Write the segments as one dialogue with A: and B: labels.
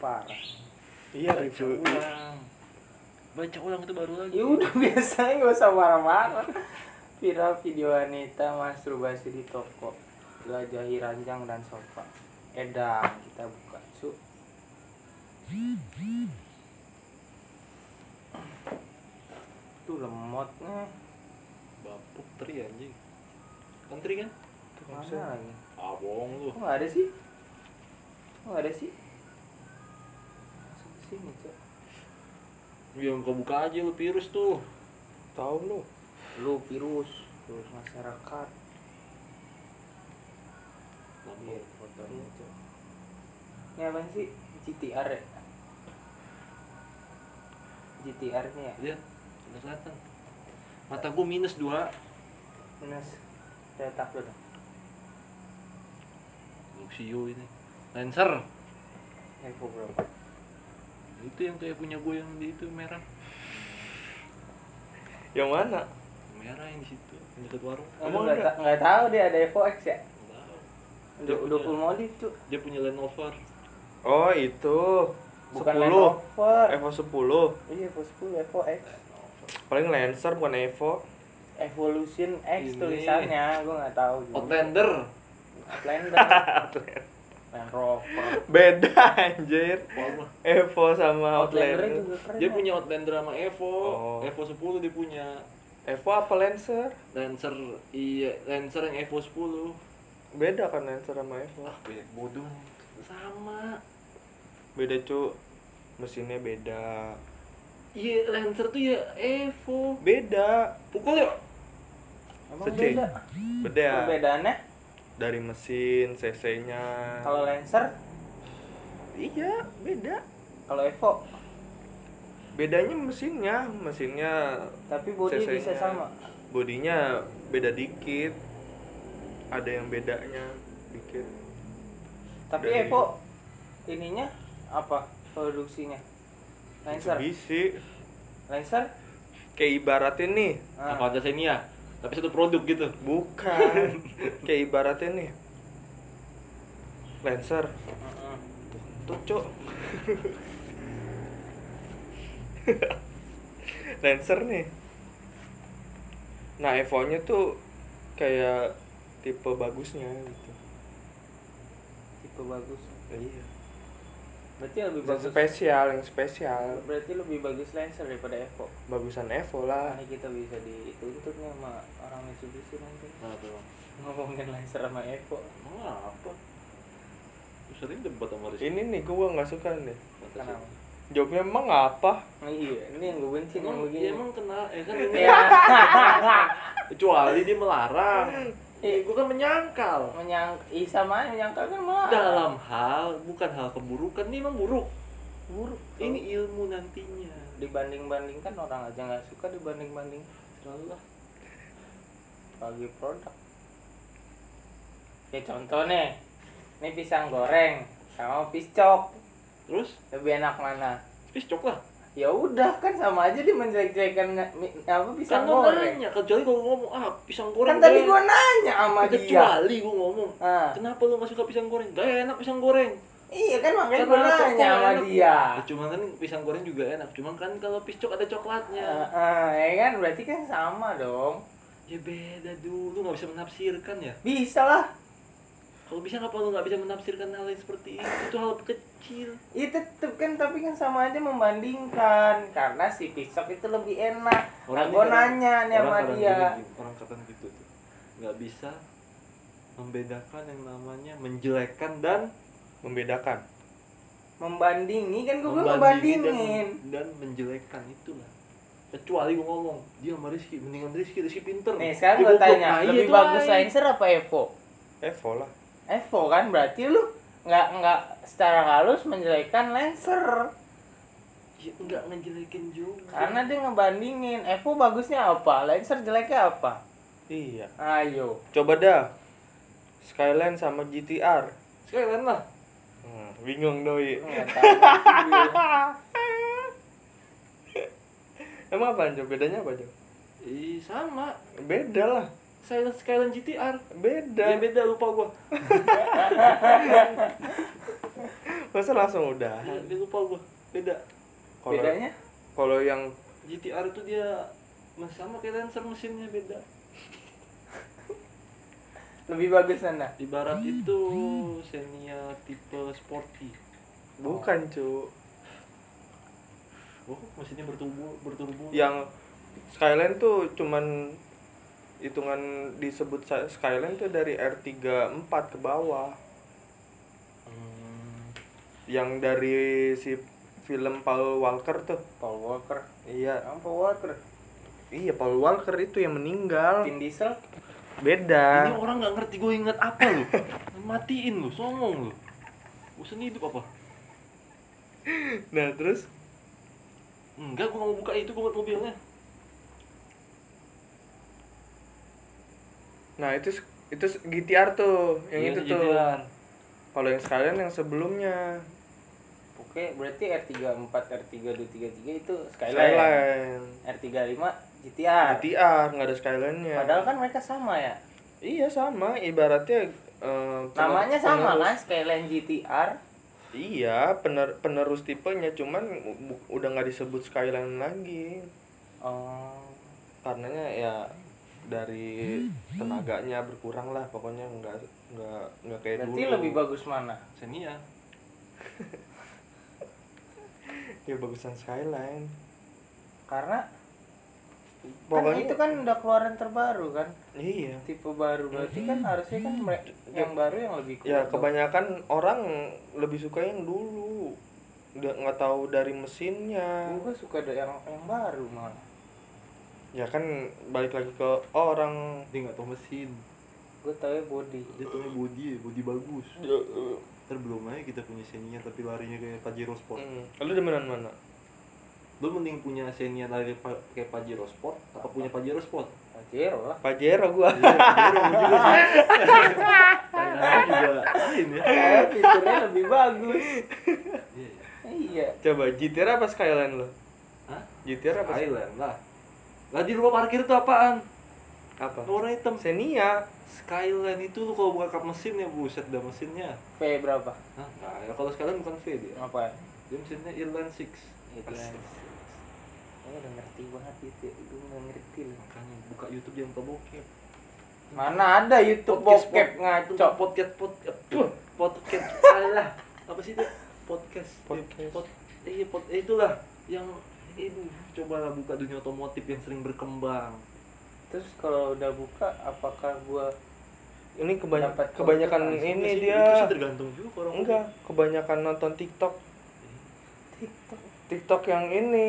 A: parah
B: Iya
A: Baca
B: review.
A: ulang.
B: Baca ulang itu baru lagi.
C: Ya udah biasanya gak usah marah-marah Viral video wanita masturbasi di toko Jelajahi ranjang dan sofa Edam kita buka Su Tuh lemotnya
B: Bapuk tri anjing. Kan tri kan?
C: Tuh mana lagi
B: Abong lu.
C: Kok gak ada sih? Kok gak ada sih? Masuk ke sini cok
B: Yang kau Iya, buka aja lu virus tuh.
A: tahu lu
C: Lu virus Virus masyarakat
B: Lama.
C: Iya, fotonya cok Ini apa sih? GTR ya? GTR nya ya?
B: Dia udah Iya, kelihatan. Mata gua minus dua.
C: Minus Data lu dong
B: Luxio E ini. Lancer.
C: Info berapa?
B: Itu yang kayak punya gue yang di itu merah.
A: yang mana
B: Merah yang di situ. Yang dekat warung.
C: Kamu
A: Emang
C: nggak
A: ada?
C: ta- nggak tahu dia ada Evo X ya?
B: Nggak tahu.
C: Udah, udah full modif tuh
B: Dia punya Lenovo.
A: oh itu
C: Bukan
A: 10
C: Lenovo
A: Evo 10
C: Iya Evo 10, Evo X
A: paling Lancer bukan Evo
C: Evolution X
B: Ini.
C: tulisannya Gue nggak tahu juga.
B: Outlander.
C: Outlander Land Rover
A: beda anjir
B: Wah,
A: Evo sama
C: Outlandernya
A: Outlander
C: juga keren
B: dia
C: ya.
B: punya Outlander sama Evo.
A: Oh.
B: Evo 10 dia punya.
A: Evo apa Lancer
B: Lancer iya Lancer yang Evo 10.
A: beda kan Lancer sama Evo
B: Wah, banyak bodoh. Sama.
A: beda cu mesinnya beda
B: Iya, Lancer tuh ya Evo.
A: beda
B: Pukul yuk.
C: Emang
A: Sedih.
C: beda? Oh,
A: beda
C: Perbedaannya
A: dari mesin cc-nya
C: Kalau Lancer,
A: iya beda
C: kalau Evo
A: bedanya mesinnya mesinnya
C: Tapi body
A: CC-nya.
C: bisa sama
A: bodinya beda dikit ada yang bedanya dikit
C: Tapi
A: Dari-
C: Evo ininya apa produksinya? Lancer,
A: Mitsubishi
C: Lancer,
A: kayak ibaratin nih
C: Ah.
B: Apa ada Xenia? ya? Tapi satu produk gitu.
A: bukan kayak ibaratin nih Lancer
C: Mm-mm.
A: tuh cok Lancer nih nah Evo nya tuh kayak tipe bagusnya gitu
C: tipe bagus.
A: iya
C: Berarti lebih
A: yang
C: bagus.
A: spesial yang spesial
C: Berarti lebih bagus Lancer daripada Evo. Ah,
A: bagusan Evo lah
C: Ini kita bisa dituntut nih sama orang Mitsubishi nanti
B: Nah, tuh.
C: ngomongin Lancer sama Evo.
B: Emang apa? Lu sering debat sama Rizky.
A: ini nih gua nggak suka nih
B: Kata
C: Kenapa?
B: si-
A: jawabnya emang apa
C: Nah, iya, ini yang gue benci nih
B: Emang,
C: yang begini.
B: ya, emang kenal, eh kan ini
C: Ya,
B: kecuali dia melarang.
C: Iya.
B: Eh, gua kan menyangkal.
C: menyang, ih sama aja, menyangkal kan malah
B: Dalam hal bukan hal keburukan, ini emang buruk.
C: buruk.
B: Ini ilmu nantinya.
C: dibanding-bandingkan orang aja nggak suka dibanding-banding
B: Selalu lah.
C: bagi produk ya contoh nih ini pisang goreng sama piscok
B: Terus,
C: lebih enak mana
B: piscok lah.
C: ya udah kan sama aja dia menjelek-jelekan na- mi- apa
B: Kan
C: pisang
B: lu
C: goreng
B: nanya, kecuali kalau ngomong, ah pisang
C: kan
B: goreng.
C: tadi
B: gua
C: gua nanya sama dia
B: kecuali gua ngomong
C: Ah,
B: kenapa lu gak suka pisang goreng gak enak pisang goreng
C: iya kan makanya
B: Karena
C: gua
B: ada
C: nanya
B: coklat
C: sama
B: enak.
C: dia
B: Ya, cuman kan pisang goreng juga enak cuman kan kalau piscok ada
C: Ah,
B: coklatnya
C: ah, ya kan berarti kan sama dong
B: ya beda dulu nggak bisa menafsirkan ya
C: bisa lah
B: kalau bisa kenapa lu nggak bisa menafsirkan hal yang seperti itu itu hal kecil
C: Iya tetep kan tapi kan sama aja membandingkan karena si pisok itu lebih enak. Nah,
B: Orang
C: gue
B: ini
C: nanya nih sama
B: orang
C: dia.
B: bilang gini, orang kata gitu tuh nggak bisa membedakan yang namanya menjelekkan dan
A: membedakan
C: Membandingi kan gue belum
B: membandingi dan-
C: membandingin.
B: dan, menjelekkan itulah kecuali gue ngomong dia sama Rizky mendingan Rizky Rizky pinter
C: Nih Eh, sekarang
B: Dia
C: gue
B: goblok.
C: tanya
B: Nah, iya,
C: lebih
B: itu
C: bagus
B: lain.
C: Lancer apa Evo?
A: Evo lah
C: Evo kan berarti lu nggak nggak secara halus menjelekan Lancer
B: Ya, nggak ngejelekin juga
C: karena dia ngebandingin Evo bagusnya apa Lancer jeleknya apa?
A: iya
C: Ayo
A: coba dah Skyline sama GTR
B: sekalian lah
A: hmm, bingung doi
C: Lu Oh, nggak tahu.
A: emang apa Jo? bedanya apa Jo?
B: Ih, Eh, sama
A: beda lah
B: Silent Skyline GTR
C: Iya,
A: beda
B: ya beda lupa gua
A: masa langsung udah
B: Dia, dia lupa gua. Beda.
A: kalau
C: bedanya
A: kalau yang
B: GTR tuh dia mas- sama kayak Lancer mesinnya beda.
C: lebih bagus sana
B: Ibarat itu Xenia tipe sporty.
A: bukan cu
B: Oh, mesinnya berturbo, berturbo.
A: yang Skyline tuh cuman hitungan disebut sa- Skyline tuh dari R34 ke bawah
C: hmm,
A: yang dari si film Paul Walker tuh
C: Paul Walker
A: iya
C: Emang Paul Walker
A: iya Paul Walker itu yang meninggal
C: Vin Diesel
A: beda
B: Ini orang nggak ngerti gue inget apa lu. Matiin lu, songong lu. Usen hidup apa?
A: nah terus
B: Enggak, gue nggak mau buka itu, gue buat mobilnya.
A: nah itu s- itu s- GTR tuh yang
B: Iya,
A: itu tuh
B: GTR.
A: kalau yang Skyline yang sebelumnya
C: Oke, berarti R34, R3233 itu Skyline.
A: Skyline
C: R35 GTR.
A: GTR nggak ada Skyline-nya
C: Padahal kan mereka sama ya.
A: iya sama ibaratnya eh,
C: Namanya sama
A: penerus-
C: kan Skyline GTR.
A: Iya, pener penerus tipenya cuman bu- udah nggak disebut Skyline lagi.
C: Oh.
A: Karenanya ya dari tenaganya berkurang lah pokoknya nggak nggak nggak kayak
C: Berarti
A: dulu.
C: lebih bagus mana?
B: Xenia.
A: ya bagusan Skyline.
C: Karena
A: Pokoknya-
C: kan itu kan udah keluaran terbaru kan.
A: Iya.
C: Tipe baru berarti kan harusnya kan mere- yang baru yang lebih cool.
A: Mm-hmm. Ya
C: dong.
A: kebanyakan orang lebih suka yang dulu. Udah nggak tahu dari mesinnya.
C: Gua suka ada yang yang baru malah.
A: Ya kan balik lagi ke orang.
B: Dia nggak tahu mesin.
C: Gue tau ya body.
B: Dia tahu body, body bagus.
C: Iya.
A: Ya, eh,
B: Ntar belum aja kita punya Xenia tapi larinya kayak Pajero Sport.
A: mm. Lu demenan mana?
B: Lu mending punya Xenia lari pa- kayak Pajero Sport apa punya Pajero Sport?
C: Pajero lah.
A: Pajero gua.
B: Iya, Pajero juga sih. Kayaknya juga lain ya.
C: Eh,
A: gitu.
C: fiturnya lebih bagus.
B: Iya.
C: Iya.
A: Coba GTR apa Skyline lo?
B: Hah?
A: GTR apa?
B: Thailand lah. Lah di rumah parkir itu apaan?
A: Apa?
B: Warna hitam.
A: Xenia
B: Skyline itu lu kalau buka kap mesin ya buset dah mesinnya.
C: V berapa?
B: Hah? Nah, ya kalau Skyline bukan V dia.
C: Apa?
B: Dia mesinnya Irland 6.
C: Irland
B: Asik.
C: Gue udah ngerti banget itu, gue gak ngerti loh.
B: Makanya buka YouTube yang bokep.
C: Mana ada YouTube bokep ngaco?
B: podcast podcast Puh, podcast alah apa sih itu podcast
A: Podcast.
B: Eh, pod, eh, pod, eh, itulah yang ini cobalah buka dunia otomotif yang sering berkembang
C: Terus kalau udah buka, apakah gua
A: ini kebany-
C: Dapat
A: kebanyakan
C: konten langsung
A: Ya kan ini
B: Itu Nah, sih- itu
A: dia
B: sih tergantung juga orang
A: enggak kebanyakan nonton TikTok
C: TikTok?
A: TikTok yang ini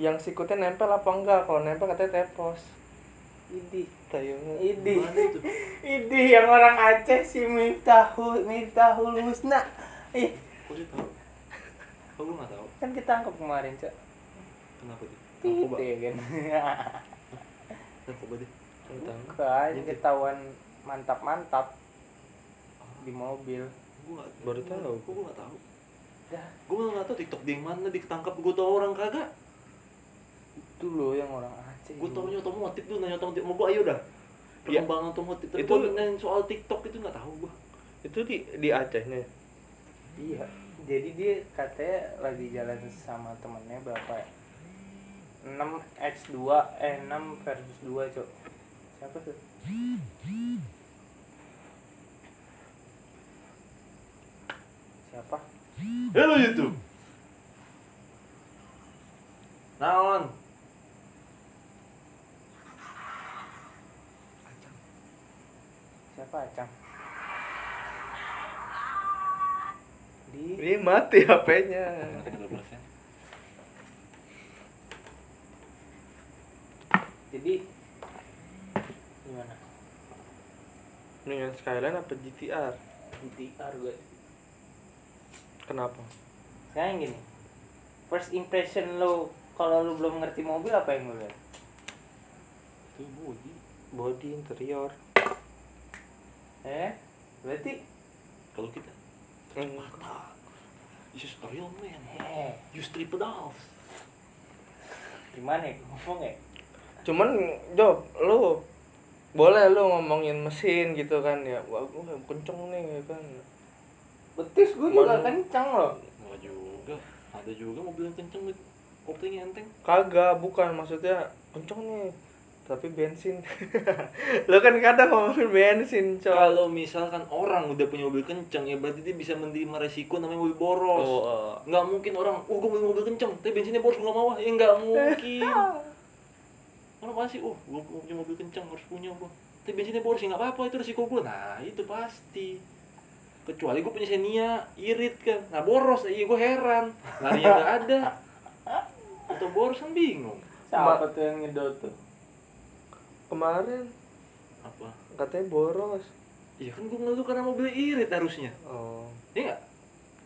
A: yang sikutnya nempel apa enggak kalau nempel katanya tepos ya.
C: Idi,
A: tayangnya
C: idi,
B: Gimana itu?
C: idi yang orang Aceh si Miftahul, Miftahul Husna. Ih,
B: Kok dia tahu? Kok lu nggak tahu?
C: kan ketangkep kemarin cok.
B: Kenapa dia? Narkoba.
C: Tite kan.
B: Narkoba dia.
C: Bukan, ketahuan mantap-mantap
B: Ah,
C: di mobil.
B: Gua nggak
A: Baru
B: gua-
A: tahu.
B: Gua gua nggak tahu.
C: Dah,
B: Gua malah nggak tahu TikTok dia yang mana ditangkap gua tahu orang kagak.
C: itu loh yang orang Aceh.
B: Gua taunya otomotif tuh nanya otomotif mau gua ayo dah.
A: Iya.
B: Perkembangan otomotif tapi
A: Itu-
B: gua nanya soal TikTok itu nggak tahu gua.
A: itu di di Acehnya
C: Iya, jadi dia katanya lagi jalan sama temennya berapa ya? 6 X2 eh 6 versus 2, Cok. Siapa tuh? Siapa?
B: Halo YouTube. Naon?
C: Siapa Acang? Di
A: ini mati HP-nya
C: jadi gimana?
A: dengan Skyline apa GTR
C: GTR gue.
A: kenapa
C: Sekarang gini. First impression lo kalau lo belum ngerti mobil apa yang lo lihat?
B: Itu body.
A: body interior
C: Eh? Berarti
B: Kalau kita
A: Hmm.
B: mata. This is a real man.
C: eh
B: You strip dolls.
C: gimana ya ngomong ya?
A: cuman job lu boleh lu ngomongin mesin gitu kan ya wah gua kenceng nih ya kan
C: betis gue juga
A: Mana?
C: kenceng loh
B: Enggak juga. Ada juga mobil yang kenceng Dit. koplingnya enteng.
A: kagak bukan maksudnya kenceng nih tapi bensin lo kan kadang ngomongin bensin coy
B: Kalau misalkan orang udah punya mobil kenceng ya berarti dia bisa menerima resiko namanya mobil boros.
A: Oh, eh.
B: Nggak mungkin orang, oh gue beli mobil kenceng, tapi bensinnya boros gue nggak mau ah." Ya nggak mungkin Orang pasti, oh gue punya mobil kenceng harus punya gue Tapi bensinnya boros ya nggak apa-apa, itu resiko gue Nah itu pasti Kecuali gue punya Xenia, irit kan Nah boros, iya gue heran Larinya nggak ada Atau boros kan bingung
C: siapa tuh yang nyedot tuh
A: kemarin
B: Apa?
A: katanya boros
B: Iya kan gue ngeluh karena mobilnya irit harusnya
A: oh
B: Iya nggak?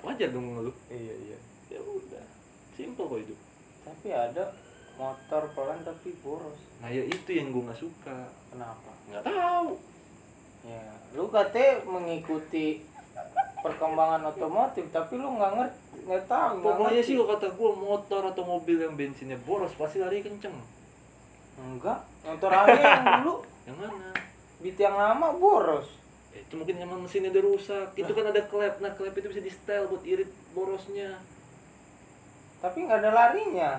B: Wajar dong gue ngeluh
A: iya iya
B: Ya udah, simple kok hidup
C: tapi ada motor pelan tapi boros
B: Nah ya itu yang gue nggak suka
C: kenapa
B: Nggak tahu
C: ya lu katanya mengikuti perkembangan otomotif tapi lu nggak ngerti nggak tahu nggak
B: Pokoknya
C: ngerti.
B: sih kalau kata gue motor atau mobil yang bensinnya boros pasti lari kenceng.
C: enggak motor aneh yang dulu
B: Yang mana?
C: beat yang lama boros
B: Eh, Itu mungkin emang mesinnya udah rusak. Itu kan ada klep. Nah, klep itu bisa di setel buat irit borosnya.
C: tapi nggak ada larinya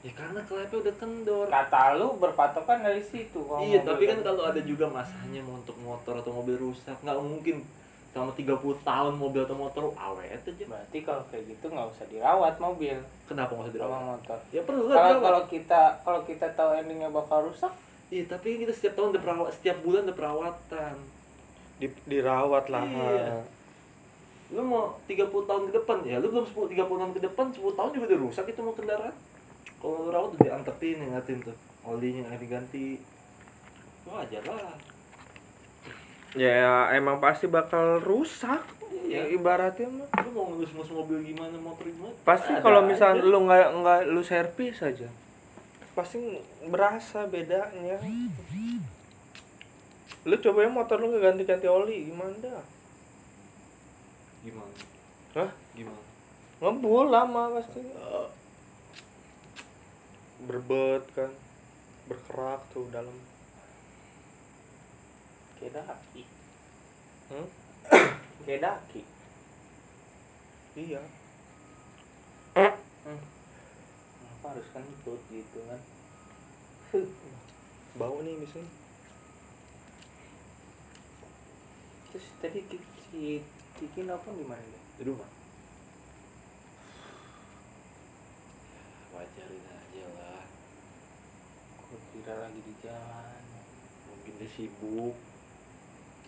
B: Ya karena klepnya udah kendor.
C: kata lu berpatokan dari situ kalau
B: iya,
C: mobil
B: tapi kan
C: kan.
B: kalau ada juga masanya mau untuk motor atau mobil rusak, nggak mungkin sama 30 tahun mobil atau motor awet aja.
C: berarti kalau kayak gitu nggak usah dirawat mobil
B: Kenapa nggak usah
C: sama
B: dirawat?
C: motor
B: Ya perlu lah
C: kalau
B: dirawat.
C: kalau kita kalau kita tahu endingnya bakal rusak
B: Iya, tapi kita setiap tahun ada perawat, setiap bulan ada perawatan.
A: Di- dirawat lah
B: Iya.
A: ha.
B: Lu mau 30 tahun ke depan, ya lu belum 10, 30 tahun ke depan, 10 tahun juga udah rusak itu mau kendaraan. Kalau lu rawat udah diantepin, ngatin tuh. Olinya nggak diganti. Wajar lah.
A: ya emang pasti bakal rusak
B: Iya.
A: ibaratnya mah
B: Lu mau ngelus-ngelus mobil gimana, motor gimana?
A: pasti
B: ada aja.
A: kalau misalnya lu nggak nggak lu servis aja pasti berasa bedanya lu cobain motor lu nggak ganti ganti oli gimana dah
B: Gimana?
A: Hah?
B: Gimana?
A: ngebul lama pasti berbet kan berkerak tuh dalam
C: kayak daki
A: hmm?
C: kayak daki
A: iya
C: hmm. Kenapa harus kentut gitu kan
A: bau nih misalnya
C: terus tadi ki- si Kiki nelfon di mana dia?
B: Di rumah. Wajarin aja lah.
C: Gua kira lagi di jalan
B: Mungkin dia sibuk.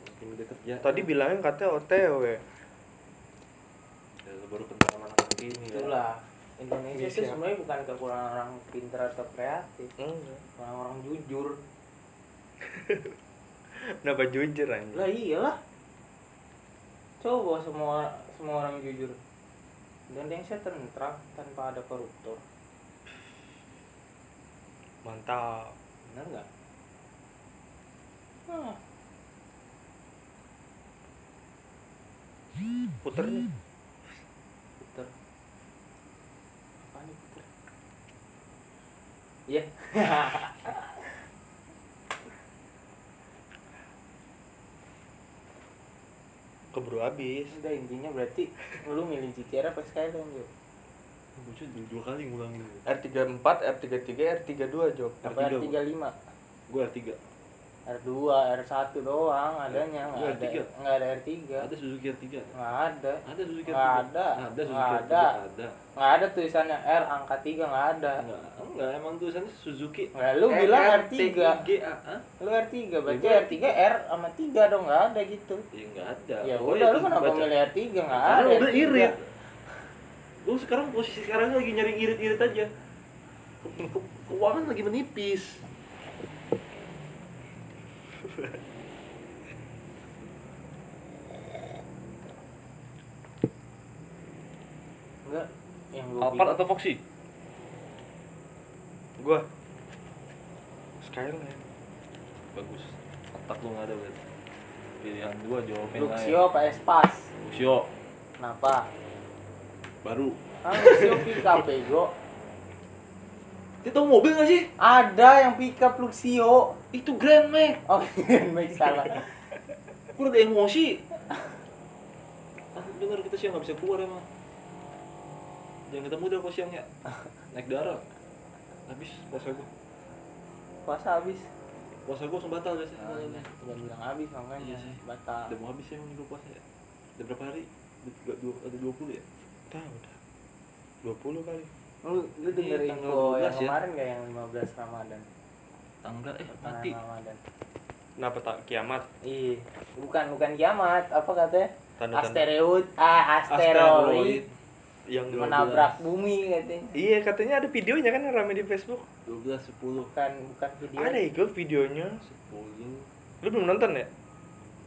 B: Mungkin dia kerja.
A: tadi bilangnya katanya otw
B: Ya, lu baru kenal sama anak ini ya.
C: itulah Indonesia itu
A: Bisa.
C: sebenarnya bukan kekurangan orang pintar atau kreatif
A: Enggak.
C: orang orang jujur
A: kenapa jujur aja
C: lah iyalah coba semua semua orang jujur Indonesia tentram tanpa ada koruptor
A: mantap
C: benar nggak Hah,
A: puter nih
C: puter apa nih puter iya
A: keburu habis
C: udah intinya berarti lu milih GTR apa Skyline yuk
B: Bucin dua, dua kali ngulangin
A: R34, R33, R32 Job
C: apa
B: R3, Bu.
C: R35
B: Gue R3
C: R2 R1 doang adanya nggak
B: Iya,
C: ada
B: R3.
C: nggak ada R3
B: Ada Suzuki R3
C: nggak ada
B: Ada Suzuki R3
C: Nggak ada.
B: Ada Suzuki
C: Nggak
B: R3
C: ada.
B: Ada
C: nggak ada tulisannya R angka 3 nggak ada
B: Enggak, enggak emang tulisannya Suzuki Eh,
C: Nah, lu bilang R3.
B: GA
C: lu R3 berarti
B: Iya,
C: R3 R sama 3 dong nggak ada gitu
B: Ya enggak ada
C: ya
B: Oh,
C: udah lu
B: itu
C: kenapa
B: baca.
C: milih R3 nggak ada
B: Karena udah
C: R3.
B: irit Lu sekarang posisi sekarang lagi nyari irit-irit aja Ke- ke- Keuangan lagi menipis
C: enggak yang gua
B: Alphard atau Foxy?
A: Gua Skyline
B: Bagus Otak lu nggak ada berarti Pilihan dua
C: bilang,
B: jawabannya
C: Luxio apa Espas
B: Luxio
C: kenapa
B: Baru
C: ah Luxio pickup bego
B: Dia tau mobil gak sih?
C: ada yang pickup Luxio
B: Itu Grand Max
C: oh make salah
B: Gue udah emosi ah, dengar kita siang nggak bisa keluar emang jangan ketemu dah kok siangnya naik darah habis puasa gua
C: puasa habis
B: puasa gua langsung batal biasanya
C: Ah, iya. udah bilang habis makanya
B: Iya sih.
C: batal
B: udah mau habis emang ini gua puasa ya udah berapa hari Udah tiga- dua, ada 20 ya
A: Udah, udah. 20 kali.
C: lu lu denger
B: Iya, tanggal
C: info yang
B: 12 ya.
C: kemarin gak yang 15 ramadan
B: tanggal eh
C: Pertengahan
B: mati
C: ramadan
A: Kenapa tak kiamat?
C: iya bukan bukan kiamat apa katanya
A: Tanda-tanda
C: asteroid ah asteroid
A: yang
B: Dua-
C: menabrak bumi katanya
A: Iya, katanya ada videonya kan yang rame di Facebook.
B: 12 10
C: bukan bukan video
A: Ada ya gue videonya.
B: 10
A: Lu belum nonton ya?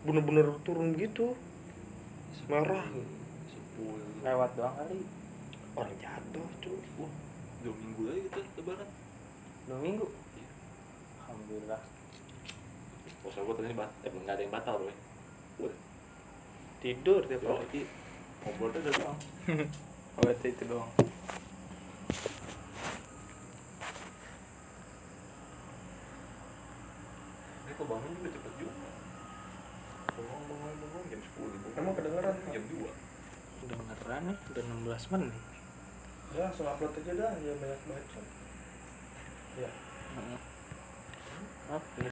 A: Bener-bener turun gitu. Merah.
B: 10
C: lewat doang kali
A: Orang jatuh, cuy.
B: Wah, dua minggu lagi kita lebaran
C: dua minggu
B: Iya.
C: alhamdulillah
B: puasa gua ternyata bat- eh nggak ada yang batal loh
A: Tidur tiap
B: Yo,
A: hari.
B: i, Ya, ngobrolnya udah doang.
C: oh itu itu doang
B: Ini kok bangun juga cepet juga. Bangun, bangun, bangun jam 10. Bangun.
A: Emang kedengeran?
B: Jam 2.
C: dengeran nih udah 16 menit
A: Ya, langsung upload aja dah, ya banyak baca. Ya.
C: Heeh. Oke.